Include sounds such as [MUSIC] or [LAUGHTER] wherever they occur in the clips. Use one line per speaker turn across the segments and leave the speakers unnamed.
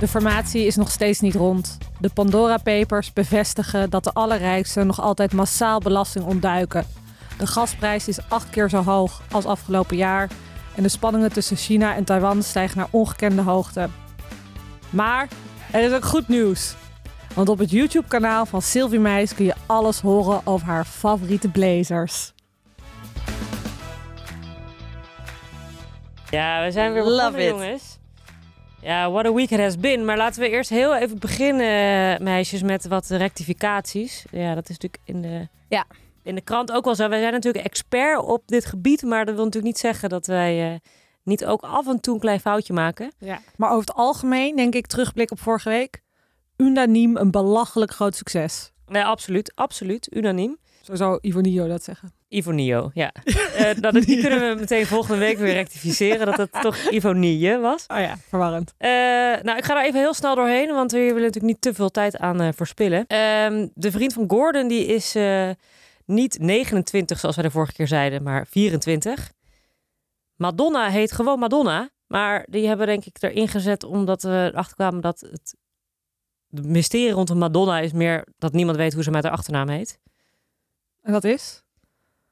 De formatie is nog steeds niet rond. De Pandora Papers bevestigen dat de allerrijksten nog altijd massaal belasting ontduiken. De gasprijs is acht keer zo hoog als afgelopen jaar. En de spanningen tussen China en Taiwan stijgen naar ongekende hoogte. Maar er is ook goed nieuws. Want op het YouTube-kanaal van Sylvie Meis kun je alles horen over haar favoriete blazers.
Ja, we zijn weer
Love
begonnen,
it.
jongens. Ja, what a week it has been. Maar laten we eerst heel even beginnen, meisjes, met wat rectificaties. Ja, dat is natuurlijk in de,
Ja.
in de krant ook wel zo. Wij zijn natuurlijk expert op dit gebied, maar dat wil natuurlijk niet zeggen dat wij eh, niet ook af en toe een klein foutje maken.
Maar over het algemeen denk ik, terugblik op vorige week, unaniem een belachelijk groot succes.
Nee, absoluut, absoluut, unaniem.
Zo zou Ivonio dat zeggen.
Ivonio,
[LAUGHS]
ja. Eh, nou, dat, die kunnen we meteen volgende week weer rectificeren, dat het toch Ivonie was.
Oh ja, verwarrend.
Eh, nou, ik ga daar even heel snel doorheen, want we willen natuurlijk niet te veel tijd aan eh, verspillen. Ehm, de vriend van Gordon die is eh, niet 29, zoals wij de vorige keer zeiden, maar 24. Madonna heet gewoon Madonna, maar die hebben denk ik erin gezet omdat we erachter kwamen dat het het mysterie rondom Madonna is meer dat niemand weet hoe ze met haar achternaam heet.
En dat is?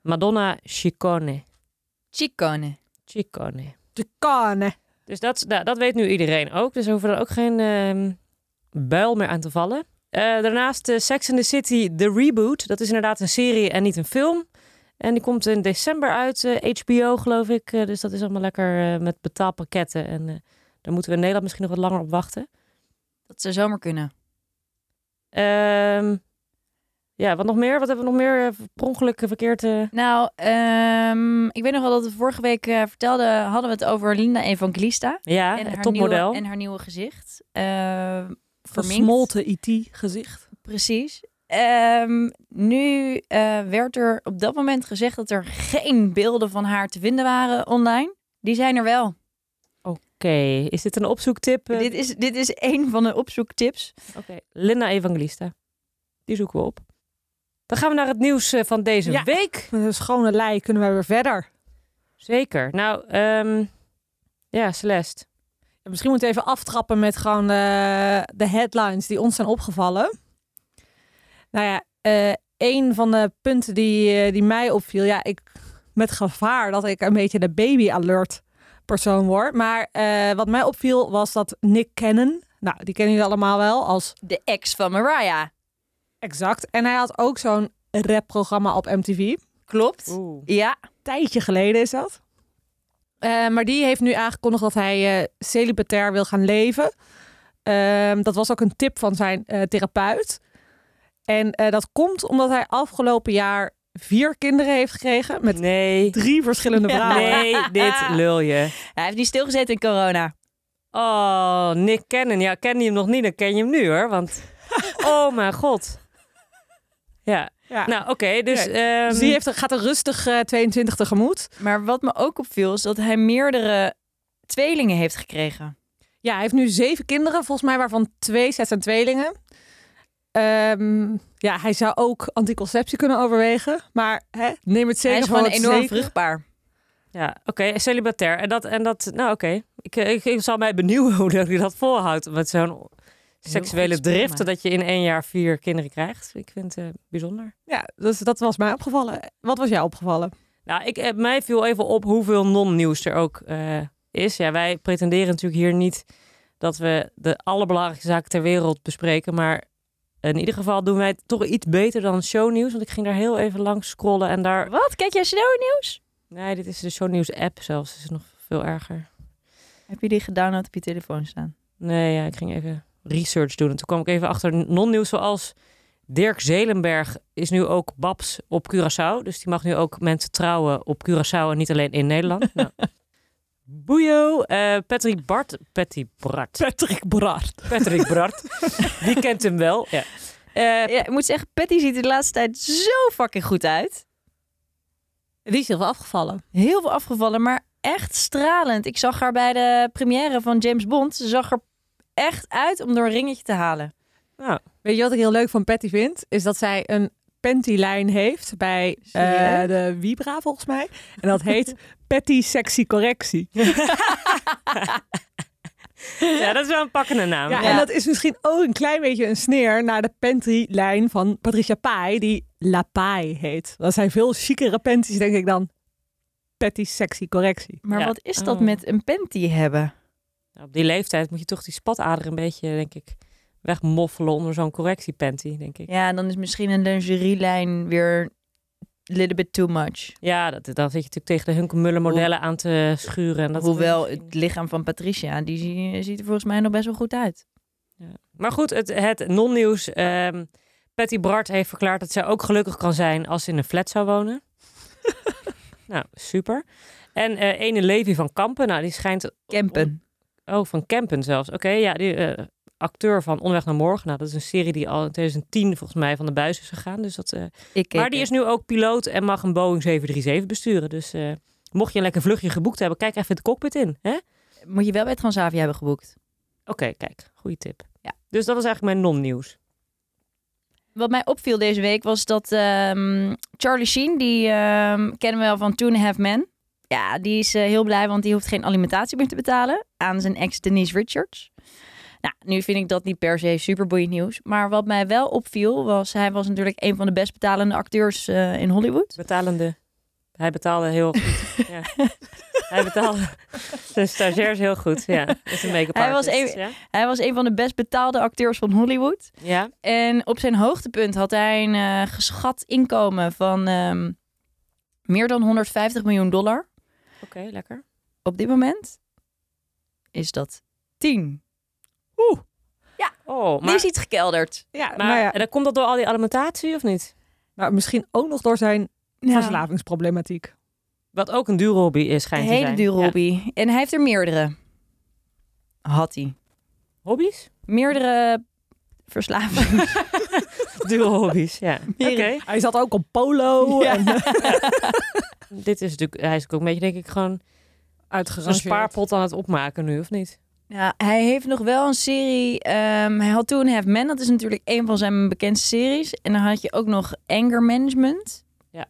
Madonna Ciccone.
Chicone.
Ciccone.
De kane.
Dus dat, nou, dat weet nu iedereen ook. Dus er hoeven er ook geen ehm, buil meer aan te vallen. Eh, daarnaast eh, Sex in the City, The Reboot. Dat is inderdaad een serie en niet een film. En die komt in december uit, eh, HBO geloof ik. Eh, dus dat is allemaal lekker eh, met betaalpakketten. En eh, daar moeten we in Nederland misschien nog wat langer op wachten.
Dat zou zomaar kunnen.
Ehm, ja, wat nog meer? Wat hebben we nog meer? eh, per ongeluk eh, verkeerd... eh,
Nou, ehm, ik weet nog wel dat we vorige week eh, vertelden, hadden we het over Linda Evangelista.
ja,
en,
het
haar
topmodel.
Nieuwe, en haar nieuwe gezicht. Uh,
Versmolten IT-gezicht.
Precies. Ehm, nu eh, werd er op dat moment gezegd dat er geen beelden van haar te vinden waren online. Die zijn er wel.
Oké, is dit een opzoektip? eh?
Dit, is, dit is een van de opzoektips.
Oké, Linda Evangelista. Die zoeken we op. Dan gaan we naar het nieuws eh, van deze
Ja.
week.
Met een schone lei kunnen wij weer verder.
Zeker. Nou, ehm, ja, Celeste.
Ja, misschien moeten we even aftrappen met gewoon de, de headlines die ons zijn opgevallen. Nou ja, eh, een van de punten die, eh, die mij opviel, ja, ik met gevaar dat ik een beetje de baby alert persoon word. Maar eh, wat mij opviel was dat Nick Cannon, nou, die kennen jullie allemaal wel als
De ex van Mariah.
exact. En hij had ook zo'n rapprogramma op MTV.
Klopt.
Oeh.
Ja.
tijdje geleden is dat. Eh, maar die heeft nu aangekondigd dat hij eh, celibatair wil gaan leven. Ehm, dat was ook een tip van zijn eh, therapeut. En eh, dat komt omdat hij afgelopen jaar vier kinderen heeft gekregen met
Nee.
drie verschillende vrouwen.
Nee, dit lul je.
Hij heeft niet stilgezeten in corona.
Oh, Nick Cannon. Ja, ken je hem nog niet, dan ken je hem nu hoor. Want, oh mijn god. Ja,
Ja.
nou oké. dus, ehm,
dus die heeft, gaat er rustig eh, 22 tegemoet.
Maar wat me ook opviel is dat hij meerdere tweelingen heeft gekregen.
Ja, hij heeft nu zeven kinderen, volgens mij waarvan twee sets en tweelingen. Ehm, ja, hij zou ook anticonceptie kunnen overwegen. Maar hè, neem het zeker
hij is
voor
gewoon
het
enorm
zeker.
vruchtbaar.
Ja, oké, celibatair. En dat, en dat nou oké. Ik, ik, ik zal mij benieuwen [LAUGHS] hoe dat hij dat volhoudt. Met zo'n seksuele
goed spel,
drift
maar.
dat je in één jaar vier kinderen krijgt. Ik vind het eh, bijzonder.
Ja, dus dat was mij opgevallen. Wat was jou opgevallen?
Nou, ik, eh, mij viel even op hoeveel non-nieuws er ook eh, is. Ja, wij pretenderen natuurlijk hier niet dat we de allerbelangrijkste zaak ter wereld bespreken. Maar in ieder geval doen wij het toch iets beter dan shownieuws. Want ik ging daar heel even langs scrollen en daar...
Wat? Kijk jij snel nieuws?
Nee, dit is de shownieuws app zelfs. Dat is nog veel erger.
Heb je die gedownload op je telefoon staan?
Nee, ja, ik ging even research doen. En toen kwam ik even achter non-nieuws zoals... Dirk Zelenberg is nu ook babs op Curaçao. Dus die mag nu ook mensen trouwen op Curaçao en niet alleen in Nederland. nou. Boeio. Eh, Patrick Bart. Patty Bart.
Patrick Braart.
Patrick Bart. die kent hem wel. Ja. Eh,
Ja, ik moet zeggen, Patty ziet er de laatste tijd zo fucking goed uit.
Die is heel veel afgevallen.
Heel veel afgevallen, maar echt stralend. Ik zag haar bij de première van James Bond. Ze zag er echt uit om door een ringetje te halen.
nou,
Weet je wat ik heel leuk van Patty vind? Is dat zij een panty-lijn heeft bij eh,
Serieus?
de Vibra volgens mij. [LAUGHS] En dat heet Patty Sexy Correctie.
Ja, dat is wel een pakkende naam.
Ja,
Ja,
en
Ja.
dat is misschien ook een klein beetje een sneer naar de panty-lijn van Patricia Pai, die La Pai heet. Dat zijn veel chicere panties, denk ik, dan Patty Sexy Correctie.
Maar
Ja.
wat is dat
Oh.
met een panty hebben?
Nou, Op die leeftijd moet je toch die spatader een beetje, denk ik, wegmoffelen onder zo'n correctiepanty, denk ik. Ja,
Ja, dan is misschien een lingerielijn weer a little bit too much.
dat, dan zit je natuurlijk tegen de Hunkemuller modellen aan te schuren. En dat
Hoewel het lichaam van Patricia, die zie- ziet er volgens mij nog best wel goed uit.
Maar goed, het, het non-nieuws. ehm, Patty Bart heeft verklaard dat zij ook gelukkig kan zijn als ze in een flat zou
[LAUGHS]
wonen. nou, super. En eh ene Levi van Kampen, nou die schijnt...
Kempen.
Oh, van Kempen zelfs. Oké, ja, die eh, acteur van Onderweg naar Morgen. Nou, dat is een serie die al in 2010 volgens mij van de buis is gegaan. Dus dat, eh,
Ik keek
maar die
het.
is nu ook piloot en mag een Boeing 737 besturen. Dus eh, mocht je een lekker vluchtje geboekt hebben, kijk even de cockpit in. Hè?
Moet je wel bij Transavia hebben geboekt.
Oké, kijk. Goeie tip.
Ja.
Dus dat was eigenlijk mijn non-nieuws.
Wat mij opviel deze week was dat ehm, Charlie Sheen, die ehm, kennen we wel van Two and a Half Men. Ja, die is eh, heel blij, want die hoeft geen alimentatie meer te betalen aan zijn ex Denise Richards. Nou, nu vind ik dat niet per se superboeiend nieuws. Maar wat mij wel opviel was, hij was natuurlijk een van de best betalende acteurs eh, in Hollywood.
betalende. Hij betaalde heel [LAUGHS] goed. ja. Hij betaalde [LAUGHS] zijn stagiairs heel goed. Ja, dat is een make-up
Hij was
artist, Ja.
Hij was een van de best betaalde acteurs van Hollywood.
ja.
En op zijn hoogtepunt had hij een eh, geschat inkomen van ehm, meer dan 150 miljoen dollar.
Oké, lekker.
op dit moment is dat 10.
Oh,
Die
maar,
is iets gekelderd.
Nou Ja,
maar, en dan komt dat door al die alimentatie of niet?
maar misschien ook nog door zijn verslavingsproblematiek.
Wat ook een dure hobby is,
Een
schijnt te
hele
zijn.
dure
Ja.
hobby. En hij heeft er meerdere. Had hij.
Hobbies?
Meerdere verslavingen.
Dure hobby's, [LAUGHS] ja. Oké. Oh,
Hij zat ook op polo
[LAUGHS]
en
Dit is natuurlijk, hij is ook een beetje, denk ik, gewoon een
uitgerangeerd.
spaarpot aan het opmaken nu, of niet?
Ja, hij heeft nog wel een serie. ehm, hij had toen Have Men. Dat is natuurlijk een van zijn bekendste series. En dan had je ook nog Anger Management.
Ja.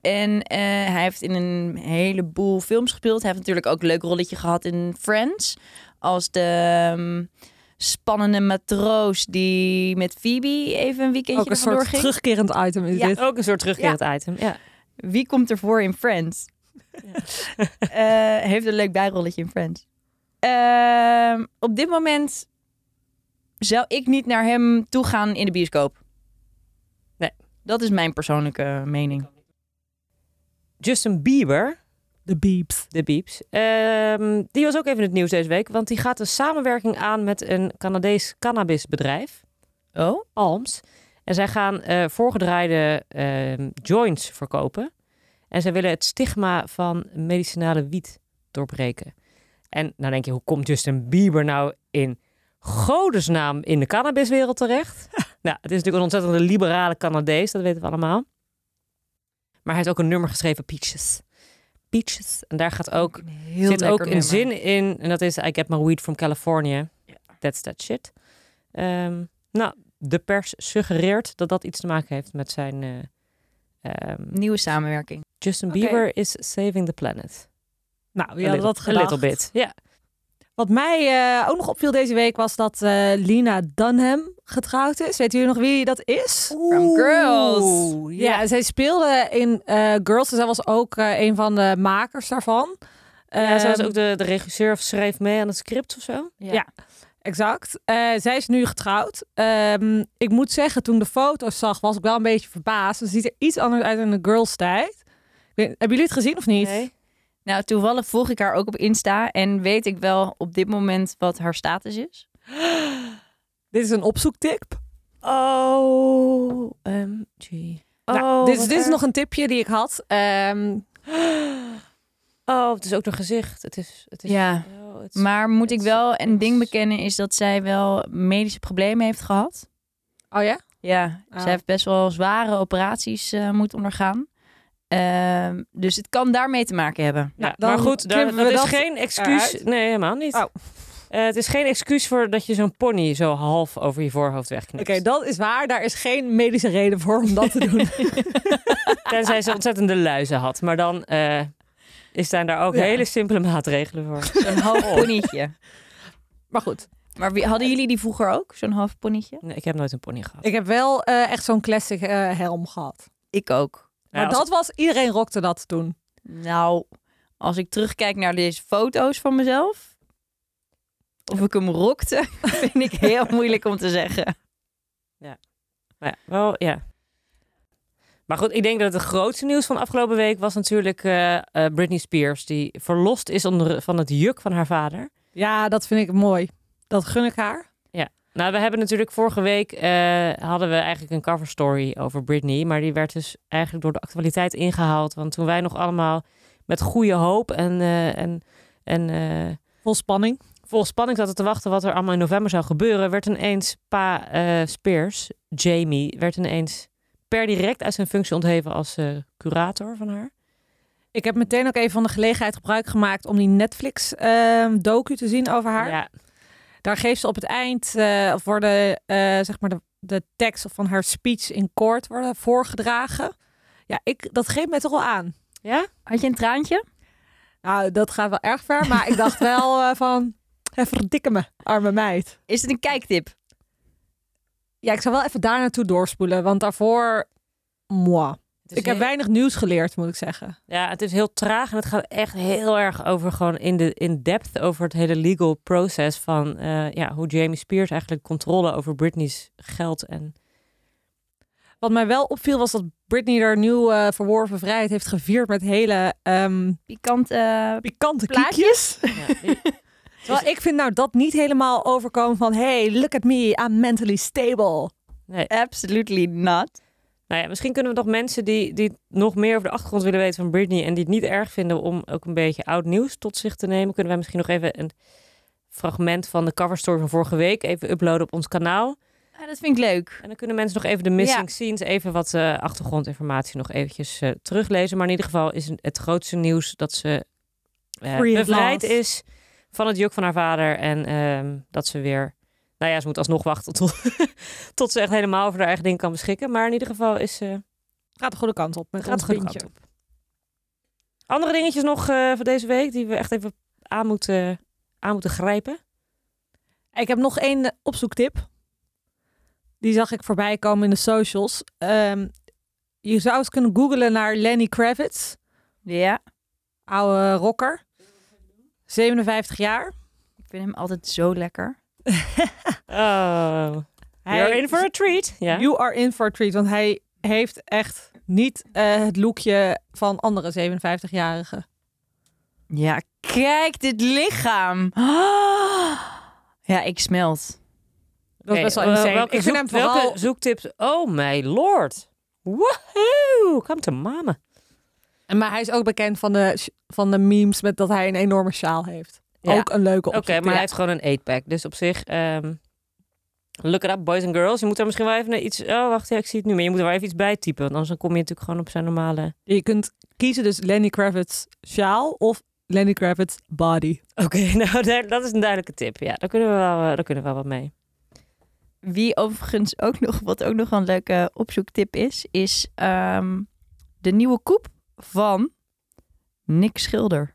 En eh, hij heeft in een heleboel films gespeeld. Hij heeft natuurlijk ook een leuk rolletje gehad in Friends. Als de ehm, spannende matroos die met Phoebe even een weekendje
Ook een
ervan
soort
doorging.
terugkerend item is
Ja.
dit.
Ook een soort terugkerend item, ja.
Wie komt ervoor in Friends? Eh, heeft een leuk bijrolletje in Friends. Ehm, op dit moment zou ik niet naar hem toe gaan in de bioscoop.
Nee.
Dat is mijn persoonlijke mening.
Justin Bieber,
De beeps.
de Beeps. Ehm, die was ook even in het nieuws deze week, want die gaat een samenwerking aan met een Canadees cannabisbedrijf,
Oh?
Alms. En zij gaan eh, voorgedraaide ehm, joints verkopen. En zij willen het stigma van medicinale wiet doorbreken. En nou denk je, hoe komt Justin Bieber nou in godesnaam in de cannabiswereld terecht? nou, het is natuurlijk een ontzettende liberale Canadees, dat weten we allemaal. Maar hij heeft ook een nummer geschreven, Peaches. Peaches. En daar gaat ook
Een heel
zit
lekker
ook een
nummer.
zin in. En dat is, I get my weed from California.
Ja.
That's that shit. Ehm, nou, de pers suggereert dat dat iets te maken heeft met zijn... eh, ehm,
Nieuwe samenwerking.
Justin
Oké.
Bieber is saving the planet.
Nou,
A
ja,
little-
dat gedacht.
A little bit, ja.
Wat mij eh, ook nog opviel deze week was dat eh, Lina Dunham getrouwd is. Weet jullie nog wie dat is?
From Girls.
Ja, zij speelde in eh, Girls. En zij was ook eh, een van de makers daarvan.
ja zij was
Ehm,
ook de, de regisseur of schreef mee aan het script of zo.
Ja. Exact. Eh, zij is nu getrouwd. Ehm, ik moet zeggen, toen ik de foto's zag, was ik wel een beetje verbaasd. Ze ziet er iets anders uit dan de girls tijd. Ik weet- Hebben jullie het gezien of niet?
Nee.
Nou, toevallig volg ik haar ook op Insta. En weet ik wel op dit moment wat haar status is.
Dit is een opzoektip.
Oh, OMG.
nou,
oh,
dit, is-
wat
dit is
erg.
nog een tipje die ik had. Ehm,
[GASPS] Oh, het is ook door gezicht. Het is... Het is
Ja.
Oh, het is-
Maar moet ik
is-
wel een
is-
ding bekennen is dat zij wel medische problemen heeft gehad.
oh ja?
Ja,
Ah.
ze heeft best wel zware operaties eh moeten ondergaan. Ehm, dus het kan daarmee te maken hebben.
Ja,
Nou, dan
maar goed, daar,
knippen
dat,
we
is
dat
geen excuus.
eruit.
Nee, helemaal niet.
Oh.
Eh, het is geen excuus voor dat je zo'n pony zo half over je voorhoofd
Oké,
wegknipt.
dat is waar. Daar is geen medische reden voor om dat te [LAUGHS] doen.
Tenzij ze ontzettende luizen had. Maar dan eh, is zijn daar ook
Ja. [LAUGHS]
Oh.
hele simpele maatregelen voor. Oh.
Een half ponietje.
Maar goed.
Maar wie- hadden jullie die vroeger ook? Zo'n half ponnetje?
Nee, ik heb nooit een pony gehad.
Ik heb wel eh, echt zo'n classic eh, helm gehad.
Ik ook.
Ja,
Maar
als-
dat was, iedereen rokte dat toen.
Nou, als ik terugkijk naar deze foto's van mezelf. Of ik hem rokte, [LAUGHS] vind ik heel moeilijk om te zeggen.
Maar ja, wel, ja. Maar goed, ik denk dat het grootste nieuws van afgelopen week was natuurlijk eh, eh, Britney Spears. Die verlost is onder, van het juk van haar vader.
Ja, dat vind ik mooi. Dat gun ik haar.
Nou, we hebben natuurlijk vorige week eh, hadden we eigenlijk een cover story over Britney. Maar die werd dus eigenlijk door de actualiteit ingehaald. Want toen wij nog allemaal met goede hoop en, eh, en, en eh,
Vol spanning.
vol spanning zaten te wachten wat er allemaal in november zou gebeuren, werd ineens pa eh, Spears, Jamie, werd ineens per direct uit zijn functie ontheven als eh, curator van haar.
Ik heb meteen ook even van de gelegenheid gebruik gemaakt om die Netflix-docu te zien over haar.
Ja,
Daar geeft ze op het eind, eh, of worden eh, zeg maar de, de tekst van haar speech in court worden voorgedragen. Ja, ik, dat geeft mij toch wel aan.
ja?
Had je een traantje?
Nou, dat gaat wel erg ver, maar ik dacht [LAUGHS] wel eh, van, hé, verdikke me, arme meid.
Is het een kijktip?
Ja, ik zou wel even daar naartoe doorspoelen, want daarvoor, moi.
Het is
Ik heb
heel-
weinig nieuws geleerd, moet ik zeggen.
ja, het is heel traag en het gaat echt heel erg over gewoon in, de, in depth over het hele legal proces van eh, ja, hoe Jamie Spears eigenlijk controle over Britney's geld en
Wat mij wel opviel was dat Britney haar nieuw eh, verworven vrijheid heeft gevierd met hele ehm
Pikant. eh
pikante
Plaatjes?
[LAUGHS] kiekjes.
ja, die-
Terwijl ik vind nou dat niet helemaal overkomen van... hey, look at me, I'm mentally stable.
nee.
absolutely not.
Nou ja, misschien kunnen we nog mensen die, die nog meer over de achtergrond willen weten van Britney en die het niet erg vinden om ook een beetje oud nieuws tot zich te nemen, kunnen wij misschien nog even een fragment van de coverstory van vorige week even uploaden op ons kanaal.
Ah, dat vind ik leuk.
En dan kunnen mensen nog even de missing scenes, even wat eh, achtergrondinformatie nog eventjes eh, teruglezen. Maar in ieder geval is het grootste nieuws dat ze eh,
Free at
bevrijd
last.
is van het juk van haar vader en ehm, dat ze weer... Nou ja, ze moet alsnog wachten tot, [LAUGHS] tot ze echt helemaal over haar eigen ding kan beschikken. Maar in ieder geval is ze
Gaat de goede kant op met
gaat
ons
de goede
pintje.
kant op. Andere dingetjes nog eh van deze week die we echt even aan moeten, aan moeten grijpen.
Ik heb nog één eh, opzoektip. Die zag ik voorbij komen in de socials. Ehm, je zou eens kunnen googlen naar Lenny Kravitz.
Ja,
Oude rocker. 57 jaar.
ik vind hem altijd zo lekker.
Oh, you're in for a treat. Ja.
You are in for a treat. Want hij heeft echt niet eh, het lookje van andere 57-jarigen.
Ja, kijk dit lichaam. Ah. [GASPS] Ja, ik smelt.
Dat is best wel
Oké,
insane.
eh, welke
ik vind hem
zoek-
vooral...
Welke zoektips? Oh my lord. Woehoe, come to mama.
En Maar hij is ook bekend van de, van de memes met dat hij een enorme sjaal heeft.
Ja.
Ook een leuke
Oké,
optie.
maar hij heeft gewoon een 8-pack. Dus op zich, ehm, look it up, boys and girls. Je moet daar misschien wel even iets... Oh, wacht, ja, ik zie het nu. Maar je moet er wel even iets bij typen. Want anders dan kom je natuurlijk gewoon op zijn normale... [LAUGHS]
Je kunt kiezen dus Lenny Kravitz sjaal of Lenny Kravitz body.
Oké, nou, daar- dat is een duidelijke tip. Ja, daar kunnen we wel, eh, daar kunnen we wel wat [LAUGHS] mee.
Wie overigens ook [LAUGHS] nog, wat ook nog een leuke opzoektip is, is ehm, de nieuwe koep van Nick Schilder.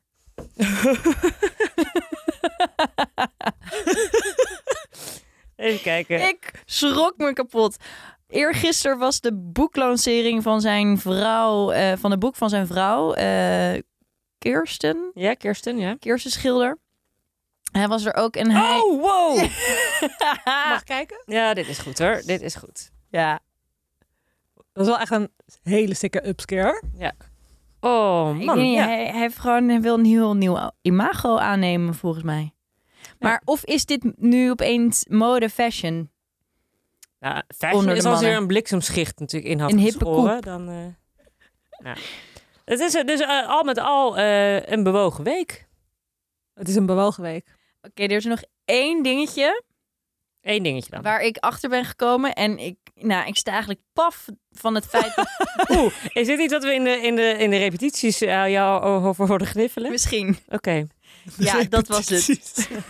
Even kijken.
Ik schrok me kapot. Eergisteren was de boeklancering van zijn vrouw, eh, van het boek van zijn vrouw, eh, Kirsten.
Ja, Kirsten, ja.
Kirsten Schilder. Hij was er ook en hij...
Oh, [LAUGHS] wow!
Mag ik kijken?
Ja, dit is goed hoor. Dit is goed.
ja.
Dat is wel echt een hele stikke upscare.
Oh,
Ik
man.
weet niet,
Ja.
hij, hij heeft gewoon, hij wil een heel nieuw imago aannemen, volgens mij. Maar of is dit nu opeens mode fashion?
Ja, fashion
Onder de
is als er
mannen.
een bliksemschicht natuurlijk in had
Een hippe
geschoren, Dan, eh, nou. Het is eh, dus eh, al met al eh, een bewogen week.
Het is een bewogen week.
Oké, er is nog één dingetje
Eén dingetje dan.
waar ik achter ben gekomen. En ik, nou, ik sta eigenlijk paf van het [LAUGHS] feit dat
Oeh, is dit niet wat we in de, in de, in de repetities eh, jou over worden gniffelen?
[LAUGHS] misschien...
Oké.
[LAUGHS]
Ja, dat was [LAUGHS] het. De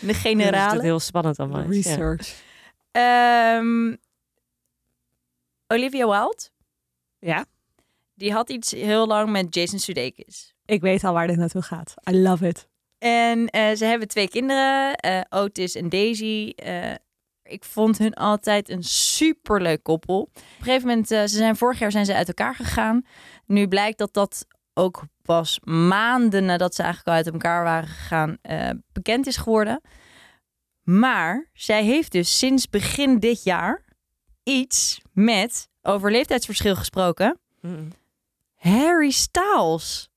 Dat is
generale.
heel spannend allemaal. Ja.
Research.
Ehm, Olivia Wilde,
Ja.
die had iets heel lang met Jason Sudeikis.
Ik weet al waar dit naartoe gaat. I love it.
En eh, ze hebben twee kinderen, eh, Otis en Daisy. Eh, ik vond hun altijd een superleuk koppel. Op een gegeven moment, eh, ze zijn, vorig jaar zijn ze uit elkaar gegaan. Nu blijkt dat dat ook pas maanden nadat ze eigenlijk al uit elkaar waren gegaan, eh, bekend is geworden. Maar zij heeft dus sinds begin dit jaar iets met, over leeftijdsverschil gesproken,
Mm.
Harry Styles.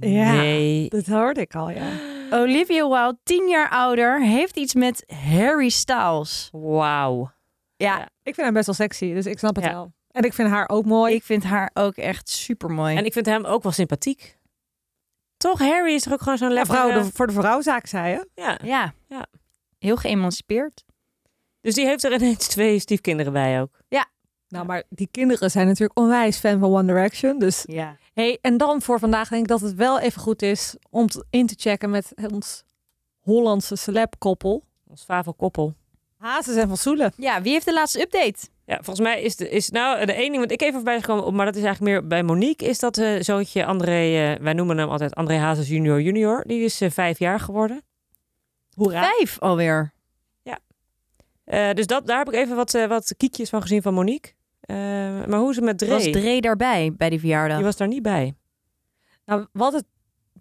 Ja.
Nee.
Dat hoorde ik al, ja.
Olivia Wilde, tien jaar ouder, heeft iets met Harry Styles.
Wauw.
Ja,
Ja.
Ik vind hem best wel sexy, dus ik snap het
Ja.
wel. En ik vind haar ook mooi.
ik vind haar ook echt super mooi.
En ik vind hem ook wel sympathiek. Toch, Harry is er ook gewoon zo'n
Ja,
lekkere...
vrouw, de- voor de vrouwzaak, zei je?
Ja.
Ja,
Ja.
heel geëmancipeerd.
Dus die heeft er ineens twee stiefkinderen bij ook.
Nou, maar die kinderen zijn natuurlijk onwijs fan van One Direction. Dus
Ja.
hey, en dan voor vandaag denk ik dat het wel even goed is om te- in te checken met ons Hollandse celeb-koppel.
Ons favelkoppel.
Hazes en Van Soelen.
ja, wie heeft de laatste update?
Ja, volgens mij is, de, is nou de ene ding, want ik even voorbij is gekomen, maar dat is eigenlijk meer bij Monique, is dat eh zoontje André, eh, wij noemen hem altijd André Hazes junior junior, die is eh, vijf jaar geworden.
Hoera.
Vijf alweer.
Eh, dus dat, daar heb ik even wat, eh, wat kiekjes van gezien van Monique. Eh, maar hoe is het met Dre?
Was Dre daarbij bij die verjaardag?
Die was daar niet bij.
Nou, wat het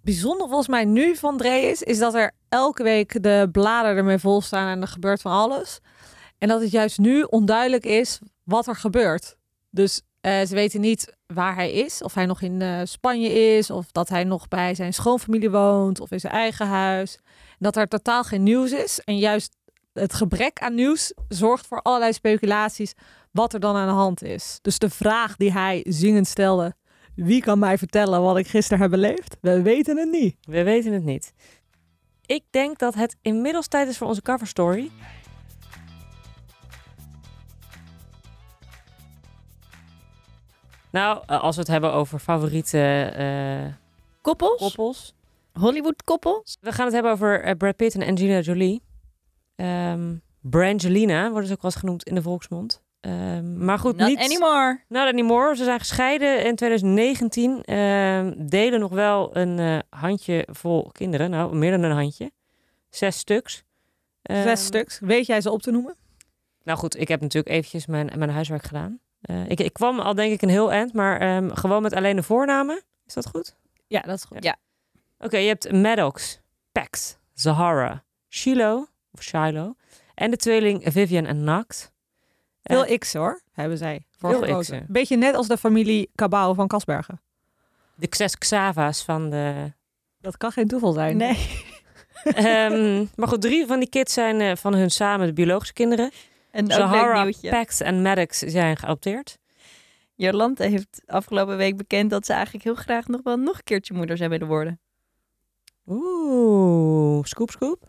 bijzonder volgens mij nu van Dre is, is dat er elke week de bladen ermee vol staan en er gebeurt van alles. En dat het juist nu onduidelijk is wat er gebeurt. Dus eh, ze weten niet waar hij is, of hij nog in eh, Spanje is, of dat hij nog bij zijn schoonfamilie woont, of in zijn eigen huis. En dat er totaal geen nieuws is. En juist het gebrek aan nieuws zorgt voor allerlei speculaties wat er dan aan de hand is. Dus de vraag die hij zingend stelde, wie kan mij vertellen wat ik gisteren heb beleefd? We weten het niet.
We weten het niet. Ik denk dat het inmiddels tijd is voor onze cover story. Nou, eh, als we het hebben over favoriete eh,
Koppels?
koppels.
Hollywood koppels?
We gaan het hebben over eh, Brad Pitt en Angelina Jolie. Ehm Brangelina worden ze ook wel eens genoemd in de volksmond. Ehm, maar goed,
Not
niet...
anymore.
Nou, dat niet more. Ze zijn gescheiden in 2019. Ehm, delen nog wel een eh, handje vol kinderen. Nou, meer dan een handje. Zes stuks. Ehm,
Zes stuks. Weet jij ze op te noemen?
Nou goed, ik heb natuurlijk eventjes mijn, mijn huiswerk gedaan. Eh, ik, ik kwam al denk ik een heel eind, maar ehm, gewoon met alleen de voornamen. Is dat goed?
Ja, dat is goed.
Oké, je hebt Maddox, Pax, Zahara, Shiloh, of Shiloh. En de tweeling Vivian en Nacht.
Veel X hoor, hebben zij. Voor
Veel
gekozen.
X'en.
Beetje net als de familie Cabau van Kasbergen.
De zes Xava's van de...
Dat kan geen toeval zijn.
Nee.
Ehm, maar goed, drie van die kids zijn eh, van hun samen de biologische kinderen.
Een ook leuk
Zahara,
nieuwtje.
Pax en Maddox zijn geadopteerd.
Jolante heeft afgelopen week bekend dat ze eigenlijk heel graag nog wel nog een keertje moeder zou willen worden.
Oeh, scoop, scoop.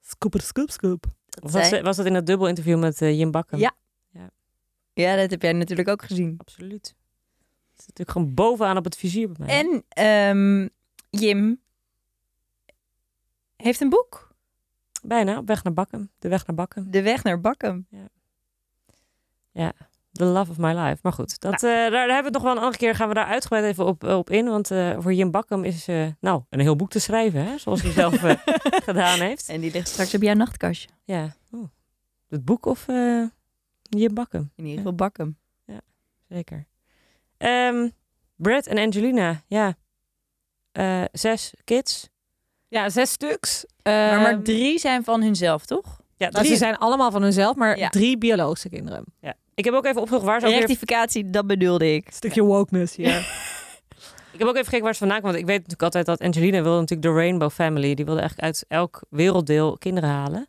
Scooper, scoop, scoop.
Of was,
zei-
was dat in dat dubbel interview met eh, Jim Bakken?
Ja. Ja, dat heb jij natuurlijk ook gezien.
Absoluut. Het is natuurlijk gewoon bovenaan op het vizier bij mij.
En ehm, Jim heeft een boek.
Bijna, op weg naar Bakken. De weg naar Bakken.
De weg naar Bakkum.
The love of my life. Maar goed, dat,
Nou.
eh, daar, daar hebben we het nog wel een andere keer. Gaan we daar uitgebreid even op, op in. Want eh, voor Jim Bakken is eh, nou een heel boek te schrijven. Hè? Zoals hij zelf
[LAUGHS]
eh, gedaan heeft.
En die ligt straks op jouw nachtkastje.
Ja. Oeh. Oh. Het boek of eh, Jim Bakken?
In ieder geval Bakkum.
Zeker. Ehm Brad en Angelina. Ja. Eh, zes kids.
Ja, zes stuks.
Maar
Ehm,
maar drie zijn van hunzelf, toch?
Ja,
nou,
drie.
ze zijn allemaal van hunzelf, maar
Ja.
drie biologische kinderen.
ja. Ik heb ook even opgezocht waar ze ook weer
Rectificatie, dat bedoelde ik.
Stukje wokeness [LAUGHS] hier.
Ik heb ook even gekeken waar ze vandaan kwam. Want ik weet natuurlijk altijd dat Angelina wilde natuurlijk de Rainbow Family. Die wilde eigenlijk uit elk werelddeel kinderen halen.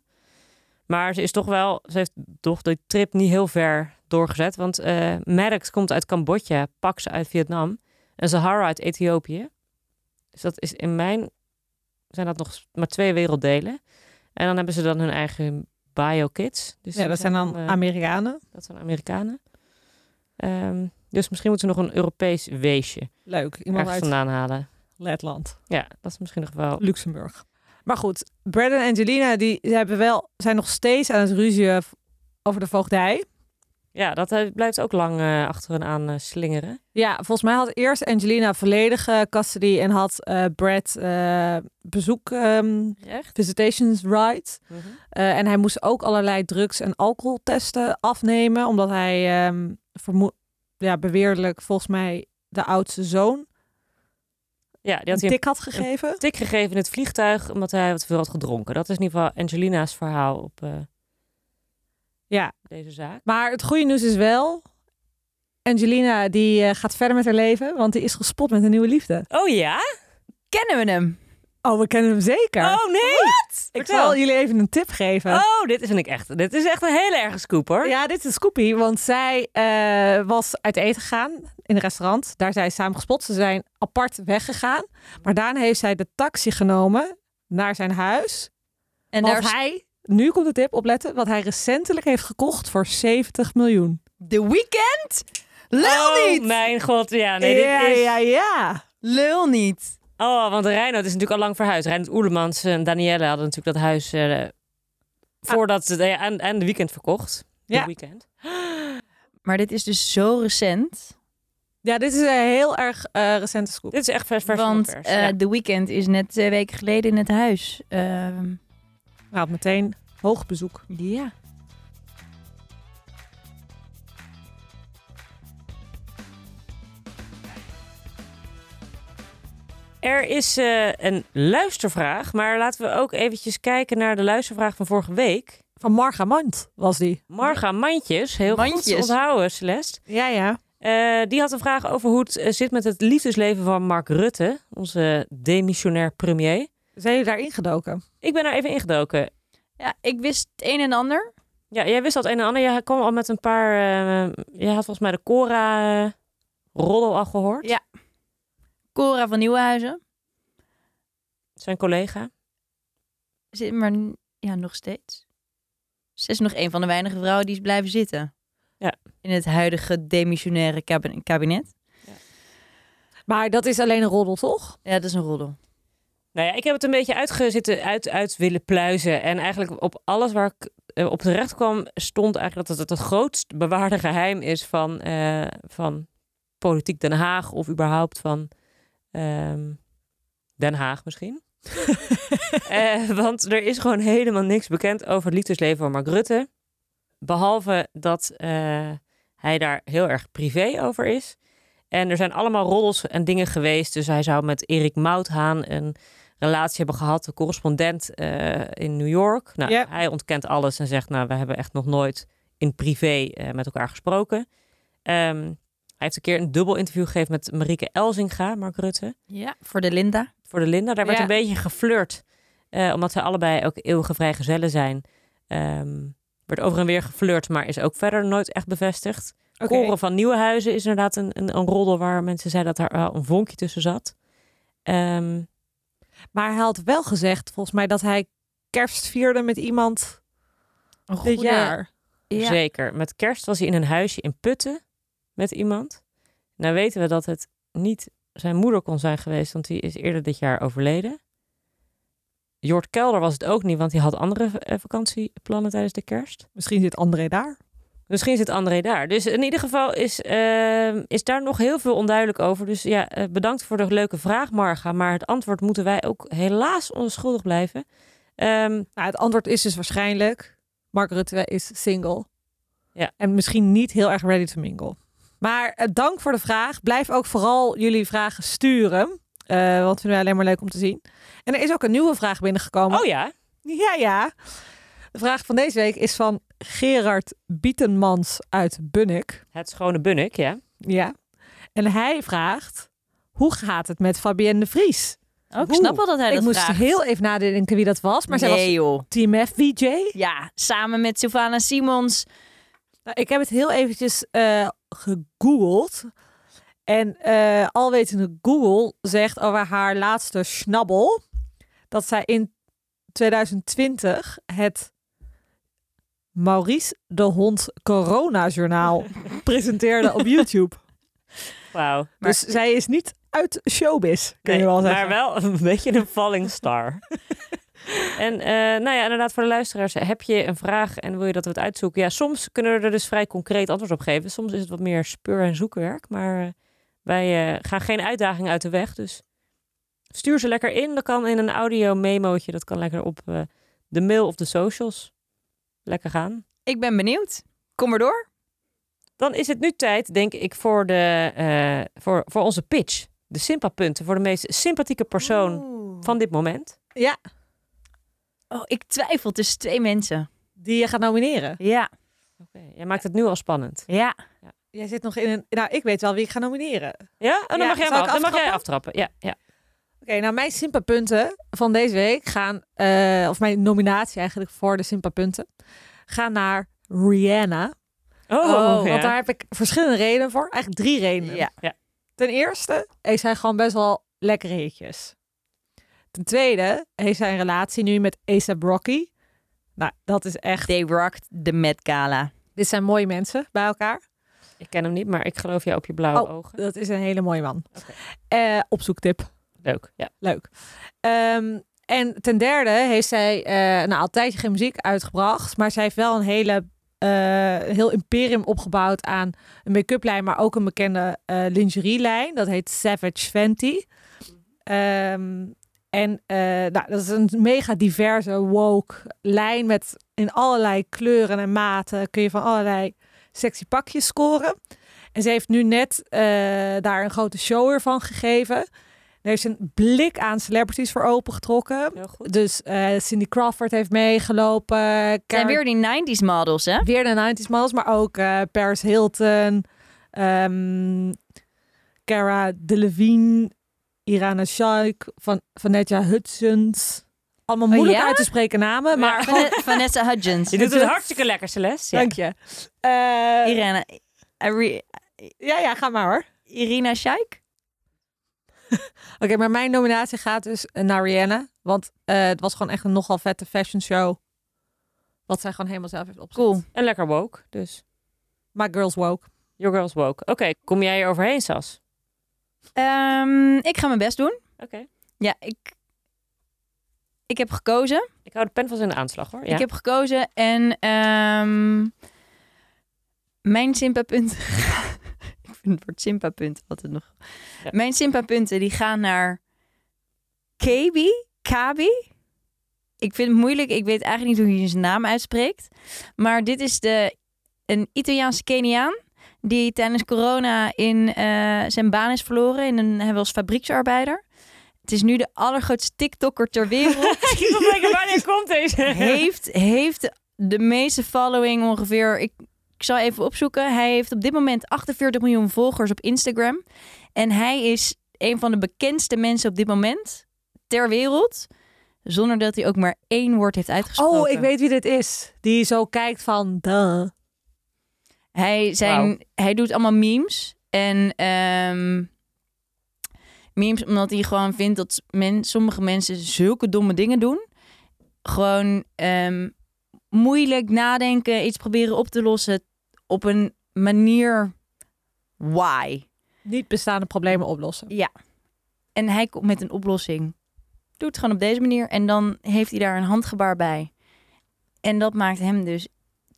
Maar ze is toch wel, ze heeft toch die trip niet heel ver doorgezet. Want eh Maddox komt uit Cambodja, Pax uit Vietnam en Sahara uit Ethiopië. Dus dat is in mijn, zijn dat nog maar twee werelddelen. En dan hebben ze dan hun eigen bio-kids. Dus
ja,
die
dat zijn dan
eh,
Amerikanen.
dat zijn Amerikanen. Ehm, dus misschien moeten ze nog een Europees weesje
Leuk. Iemand
ergens
uit
vandaan halen.
Letland.
Ja, dat is misschien nog
Oh.
wel.
Luxemburg. Maar goed, Brad en Angelina die, ze hebben wel, zijn nog steeds aan het ruzien over de voogdij.
Ja, dat eh, blijft ook lang eh, achter hen aan eh, slingeren.
Ja, volgens mij had eerst Angelina volledige custody en had eh Brad eh, bezoek, ehm,
Echt?
visitations right.
Mhm.
Eh, en hij moest ook allerlei drugs- en alcoholtesten afnemen, omdat hij ehm vermoed, ja, beweerlijk volgens mij de oudste zoon
Ja, die
een
had hij
tik had gegeven.
een tik gegeven in het vliegtuig omdat hij wat veel had gedronken. Dat is in ieder geval Angelina's verhaal op eh,
Ja,
deze zaak.
maar het goede nieuws is wel, Angelina die eh, gaat verder met haar leven, want die is gespot met een nieuwe liefde.
Oh ja?
Kennen we hem?
Oh, we kennen hem zeker.
Oh nee! Wat?
Ik zal jullie even een tip geven.
Oh, dit is, vind ik echt, dit is echt een hele erge scoop hoor.
Ja, dit is Scoopy, want zij eh, was uit eten gegaan in een restaurant. Daar zijn ze samen gespot. Ze zijn apart weggegaan. Maar daarna heeft zij de taxi genomen naar zijn huis.
En
want
daar is
hij, nu komt de tip, opletten, wat hij recentelijk heeft gekocht voor 70 miljoen.
The Weeknd? Lul
oh
niet!
mijn god, ja. Ah, Nee,
ja,
dit is...
ja, ja.
Lul niet.
Oh, want Reinoud is natuurlijk al lang verhuisd. Reinoud Oelemans en Danielle hadden natuurlijk dat huis eh, voordat ze eh, aan, aan de weekend verkocht. De
Ja.
weekend.
Maar dit is dus zo recent.
Ja, dit is een heel erg eh, recente scoop.
Dit is echt vers, vers van de
want
pers,
eh,
ja.
The Weeknd is net twee weken geleden in het huis. Ehm,
Nou, meteen hoog bezoek.
ja.
Er is eh, een luistervraag, maar laten we ook eventjes kijken naar de luistervraag van vorige week.
Van Marga Mand was die.
Marga Mandjes, heel goed
Mandjes.
te onthouden Celeste.
Ja, ja.
Eh, die had een vraag over hoe het eh, zit met het liefdesleven van Mark Rutte, onze demissionair premier.
Zijn jullie daarin gedoken?
Ik ben daar even ingedoken.
ja, ik wist het een en ander.
Ja, jij wist al het een en ander. Jij kwam al met een paar... eh, jij had volgens mij de Cora-roddel al gehoord.
Ja. Cora van Nieuwenhuizen.
Zijn collega.
Zit maar n- ja, nog steeds. Ze is nog een van de weinige vrouwen die is blijven zitten.
Ja.
In het huidige demissionaire kabin- kabinet.
Maar dat is alleen een roddel, toch?
Ja, dat is een roddel.
Nou ja, ik heb het een beetje uitgezitten, uit, uit willen pluizen. En eigenlijk op alles waar ik eh, op terecht kwam, stond eigenlijk dat het het grootst bewaarde geheim is van, eh, van politiek Den Haag. Of überhaupt van ehm, Den Haag misschien. [LAUGHS] Eh, want er is gewoon helemaal niks bekend over het liefdesleven van Mark Rutte. Behalve dat eh, hij daar heel erg privé over is. En er zijn allemaal roddels en dingen geweest. Dus hij zou met Erik Mouthaan een relatie hebben gehad, een correspondent eh, in New York. Nou,
Ja.
Hij ontkent alles en zegt, nou, we hebben echt nog nooit in privé eh, met elkaar gesproken. Ehm, hij heeft een keer een dubbel interview gegeven met Marieke Elzinga, Mark Rutte
Ja. Voor de Linda.
voor de Linda. Daar werd
Ja.
een beetje geflirt. eh, omdat zij allebei ook eeuwige vrijgezellen zijn. Ehm werd over en weer geflirt, maar is ook verder nooit echt bevestigd.
Oké.
Koren van Nieuwenhuizen is inderdaad een, een, een roddel waar mensen zeiden dat daar wel een vonkje tussen zat. Ehm,
Maar hij had wel gezegd, volgens mij, dat hij kerst vierde met iemand
Een
dit jaar.
Ja.
Zeker. Met kerst was hij in een huisje in Putten met iemand. Nou weten we dat het niet zijn moeder kon zijn geweest, want die is eerder dit jaar overleden. Jort Kelder was het ook niet, want die had andere eh, vakantieplannen tijdens de kerst.
Misschien zit André daar.
Misschien zit André daar. Dus in ieder geval is, ehm, is daar nog heel veel onduidelijk over. Dus ja, eh, bedankt voor de leuke vraag, Marga. Maar het antwoord moeten wij ook helaas onschuldig blijven. Ehm,
Nou, het antwoord is dus waarschijnlijk: Mark Rutte is single.
Ja.
En misschien niet heel erg ready to mingle. Maar eh, dank voor de vraag. Blijf ook vooral jullie vragen sturen. Eh, want vinden wij alleen maar leuk om te zien. En er is ook een nieuwe vraag binnengekomen.
oh ja,
Ja, ja. De vraag van deze week is van Gerard Bietenmans uit Bunnik.
het schone bunnik, ja.
Ja. En hij vraagt: hoe gaat het met Fabienne de Vries?
Oh, ik
Oeh.
snap wel dat hij
ik
dat
moest
vraagt.
heel even nadenken wie dat was, maar zij
Nee,
was
joh.
Team FVJ.
Ja, samen met Sylvana Simons.
Nou, ik heb het heel eventjes eh, gegoogeld. En eh, alwetende Google zegt over haar laatste schnabbel dat zij in 2020 het Maurice de Hond Corona
[LAUGHS]
Journaal presenteerde op YouTube.
Wauw.
Maar-
dus zij is niet uit showbiz, kun je
Nee,
wel zeggen. [LAUGHS]
[LAUGHS] maar wel een beetje een falling star. En eh, nou ja, inderdaad, voor de luisteraars, heb je een vraag en wil je dat we het uitzoeken? Ja, soms kunnen we er dus vrij concreet antwoord op geven. Soms is het wat meer speur- en zoekwerk. Maar eh, wij eh, gaan geen uitdaging uit de weg. Dus stuur ze lekker in. Dat kan in een audio-memootje. Dat kan lekker op eh, de mail of de socials. Lekker gaan.
Ik ben benieuwd. Kom maar door.
Dan is het nu tijd, denk ik, voor, de, eh, voor, voor onze pitch. De Simpa-punten voor de meest sympathieke persoon van dit moment.
Ja,
Oh, ik twijfel tussen twee mensen.
die je gaat nomineren.
Ja,
Jij maakt het nu al spannend.
ja.
Jij zit nog in een... Nou, ik weet wel wie ik ga nomineren. Oké,
Ja? Oh, dan,
Ja,
mag, jij
zal
hem
ik
af- dan mag jij aftrappen. Ja, ja.
nou mijn Simpa-punten van deze week gaan... eh, of mijn nominatie eigenlijk voor de Simpa-punten... gaan naar Rihanna.
Oh, ja.
Want daar heb ik verschillende redenen voor. Eigenlijk drie redenen.
Ja.
Ja.
Ten eerste heeft zij gewoon best wel lekkere hitjes. Ten tweede heeft zij een relatie nu met A$AP Rocky. Nou, dat is echt...
They rocked de Met Gala.
Dit zijn mooie mensen bij elkaar.
Ik ken hem niet, maar ik geloof jou op je blauwe
Oh.
ogen.
Dat is een hele mooie man.
Oké.
Eh, opzoektip.
Leuk, ja.
Leuk. Ehm, en ten derde heeft zij eh nou, al een tijdje geen muziek uitgebracht. Maar zij heeft wel een hele, eh, een heel imperium opgebouwd aan een make-up lijn. Maar ook een bekende eh lingerie lijn. Dat heet Savage Fenty. Ehm, en eh, nou, dat is een mega diverse woke lijn. Met in allerlei kleuren en maten kun je van allerlei sexy pakjes scoren. En ze heeft nu net eh, daar een grote show weer van gegeven. Er heeft ze een blik aan celebrities voor opengetrokken.
Heel goed.
Dus eh, Cindy Crawford heeft meegelopen.
Het zijn
Karen-
weer die 90s models, [LAUGHS] hè?
weer de 90s models, maar ook eh, Paris Hilton, ehm, Cara Delevingne, Irana Shayk, Van, Vanessa Hudgens. Allemaal
Oh,
moeilijk
ja?
uit te spreken namen, maar
Van- Vanessa Hudgens.
Je doet het hartstikke lekker, Celeste. Ja.
dank je. Eh,
Irene. Ari-
ja, ja, ga maar hoor.
Irina Shayk?
Oké, maar mijn nominatie gaat dus naar Rihanna. Want eh, het was gewoon echt een nogal vette fashion show. Wat zij gewoon helemaal zelf heeft opgezet.
Cool.
En lekker woke, dus.
Maar girls woke.
Your girl's woke. Oké, kom jij er overheen, Sas?
Ehm, ik ga mijn best doen.
Oké.
Ja, ik, ik heb gekozen.
Ik hou de pen vast in de aanslag, hoor. Ja.
Ik heb gekozen en ehm, mijn Simpa-punten. [LAUGHS] ik vind het woord Simpa-punt altijd nog.
Ja.
Mijn Simpa-punten die gaan naar Kaby. Kaby. Ik vind het moeilijk. Ik weet eigenlijk niet hoe je zijn naam uitspreekt. Maar dit is de, een Italiaanse Keniaan. Die tijdens corona in eh, zijn baan is verloren. In een, hij was fabrieksarbeider. Het is nu de allergrootste TikToker ter wereld
[LAUGHS] Ik wil denken, [LAUGHS] wanneer komt deze?
heeft, heeft de meeste following ongeveer. Ik, ik zal even opzoeken. Hij heeft op dit moment 48 miljoen volgers op Instagram. En hij is een van de bekendste mensen op dit moment ter wereld. Zonder dat hij ook maar één woord heeft uitgesproken.
Oh, ik weet wie dit is. Die zo kijkt van, duh.
Hij, zijn, hij doet allemaal memes. En ehm, memes omdat hij gewoon vindt dat men, sommige mensen zulke domme dingen doen. Gewoon ehm, moeilijk nadenken, iets proberen op te lossen op een manier why.
Niet bestaande problemen oplossen.
En hij komt met een oplossing. Doe het gewoon op deze manier. En dan heeft hij daar een handgebaar bij. En dat maakt hem dus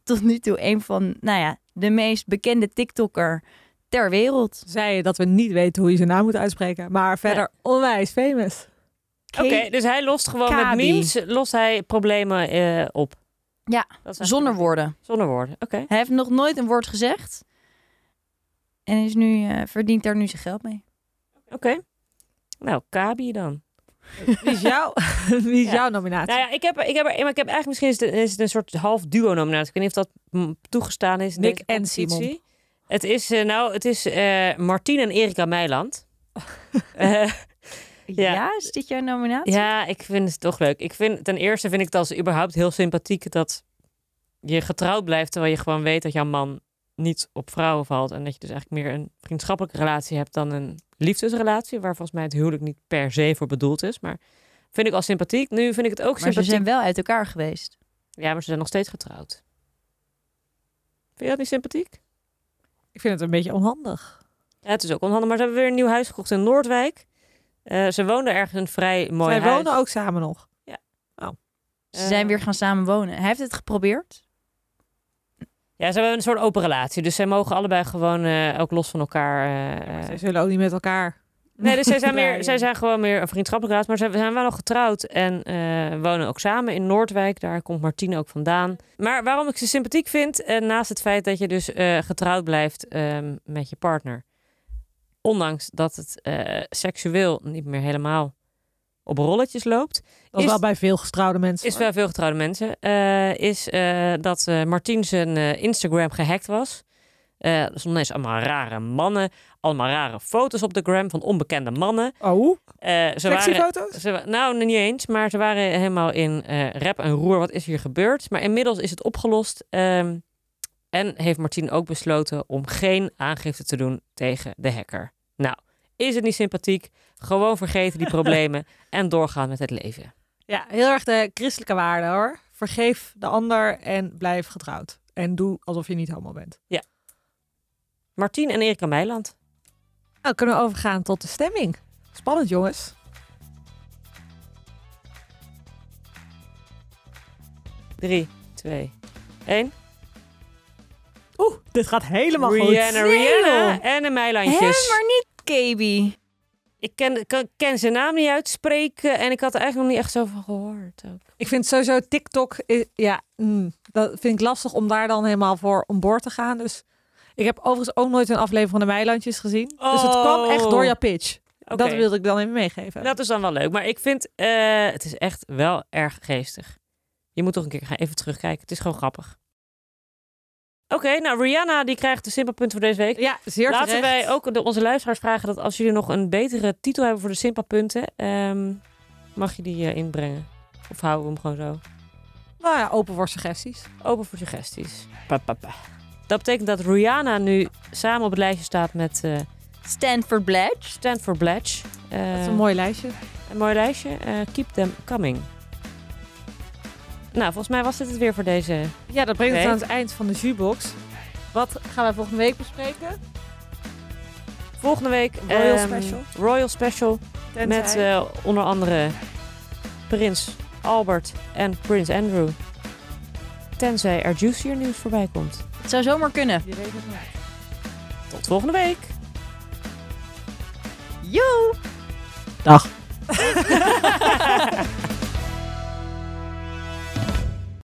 tot nu toe een van, nou ja, de meest bekende TikToker ter wereld.
Zei je dat we niet weten hoe je zijn naam moet uitspreken. Maar verder onwijs famous.
Oké, dus hij lost gewoon met
Kabi.
memes, lost hij problemen eh, op.
Ja,
Dat is eigenlijk-
Zonder woorden.
Zonder woorden, oké.
Hij heeft nog nooit een woord gezegd. En is nu, eh, verdient daar nu zijn geld mee.
Oké. Nou, Kabi dan.
Wie is, jouw, [LAUGHS] wie is
Ja.
jouw nominatie?
Nou ja, ik heb, er- ik heb, er, maar ik heb eigenlijk misschien is het, is het een soort half duo nominatie. Ik weet niet of dat mm, toegestaan is. in
Nick
deze
en
competitie.
Simon.
Het is, eh, nou, het is eh Martien en Erika Meiland. Eh,
Ja,
Ja.
is dit jouw nominatie?
ja, ik vind het toch leuk. Ik vind, ten eerste vind ik het als überhaupt heel sympathiek dat je getrouwd blijft terwijl je gewoon weet dat jouw man niet op vrouwen valt. En dat je dus eigenlijk meer een vriendschappelijke relatie hebt dan een liefdesrelatie. Waar volgens mij het huwelijk niet per se voor bedoeld is. Maar vind ik al sympathiek. Nu vind ik het ook
maar ze
sympathiek.
zijn wel uit elkaar geweest.
Ja, maar ze zijn nog steeds getrouwd. Vind je dat niet sympathiek?
Ik vind het een beetje onhandig.
Ja, het is ook onhandig, maar ze hebben weer een nieuw huis gekocht in Noordwijk. Eh, ze woonden ergens in een vrij mooi
Zij
huis. Eh,
wonen ook samen nog.
Ja.
Oh.
Ze zijn weer gaan samen wonen. Hij heeft het geprobeerd.
Ja, ze hebben een soort open relatie. Dus zij mogen allebei gewoon eh, ook los van elkaar. eh,
Maar
eh,
zij zullen ook niet met elkaar.
nee, dus zij zijn,
[LAUGHS] Ja,
meer,
ja.
zij zijn gewoon meer een vriendschappelijke raad. Maar ze zijn wel nog getrouwd en eh, wonen ook samen in Noordwijk. Daar komt Martine ook vandaan. Maar waarom ik ze sympathiek vind, eh, naast het feit dat je dus eh, getrouwd blijft ehm, met je partner. Ondanks dat het eh, seksueel niet meer helemaal op rolletjes loopt.
Dat is
Is-
wel bij veel getrouwde mensen.
Is
hoor.
wel veel getrouwde mensen. Eh, is eh, dat eh Martien zijn eh, Instagram gehackt was. Eh er stonden ineens allemaal rare mannen. Allemaal rare foto's op de gram van onbekende mannen.
Oh,
Eh, ze waren,
flexiefoto's?
ze, wa- nou, niet eens. Maar ze waren helemaal in eh rep en roer. Wat is hier gebeurd? Maar inmiddels is het opgelost. ehm, en heeft Martien ook besloten om geen aangifte te doen tegen de hacker. Nou, is het niet sympathiek? Gewoon
[LAUGHS]
vergeten die problemen en doorgaan met het leven.
Ja, heel erg de christelijke waarde hoor. Vergeef de ander en blijf getrouwd. En doe alsof je niet homo bent.
Martien en Erika Meiland.
Nou, kunnen we overgaan tot de stemming. Spannend jongens.
Drie, twee, één.
Oeh, dit gaat helemaal
Rihanna,
goed.
Rihanna en de
Hè,
Meilandjes.
maar niet KB.
Ik ken, kan- ken zijn naam niet uitspreken en ik had er eigenlijk nog niet echt zo van gehoord. Ook.
Ik vind sowieso TikTok, i- ja, mm, dat vind ik lastig om daar dan helemaal voor om boord te gaan. Dus ik heb overigens ook nooit een aflevering van de Meilandjes gezien. Dus het kwam
Oh.
echt door jouw pitch.
Oké.
Dat wilde ik dan even meegeven.
Dat is dan wel leuk. Maar ik vind, eh, het is echt wel erg geestig. Je moet toch een keer gaan even terugkijken. Het is gewoon grappig. Oké, nou Rihanna die krijgt de simpelpunt voor deze week.
Ja, zeer
Laten
terecht.
wij ook de, onze luisteraars vragen dat als jullie nog een betere titel hebben voor de Simpa-punten, ehm, mag je die eh, inbrengen? Of houden we hem gewoon zo?
Nou ja, open voor suggesties.
Open voor suggesties. Pa, pa, pa. Dat betekent dat Rihanna nu samen op het lijstje staat met eh
Stanford Bledge.
Stanford Bledge. Eh,
Dat is een mooi lijstje.
een mooi lijstje. Eh, keep them coming. Nou, volgens mij was dit het weer voor deze.
Ja, dat brengt ons
Oké.
aan het eind van de jukebox. Wat gaan wij volgende week bespreken?
Volgende week
Royal
ehm,
Special.
Royal Special met
Tenzij-
eh, onder andere Prins Albert en Prins Andrew. Tenzij er juicier nieuws voorbij komt.
Het zou zomaar kunnen.
Je weet het niet.
Tot volgende week.
Yo!
[LAUGHS] Dag.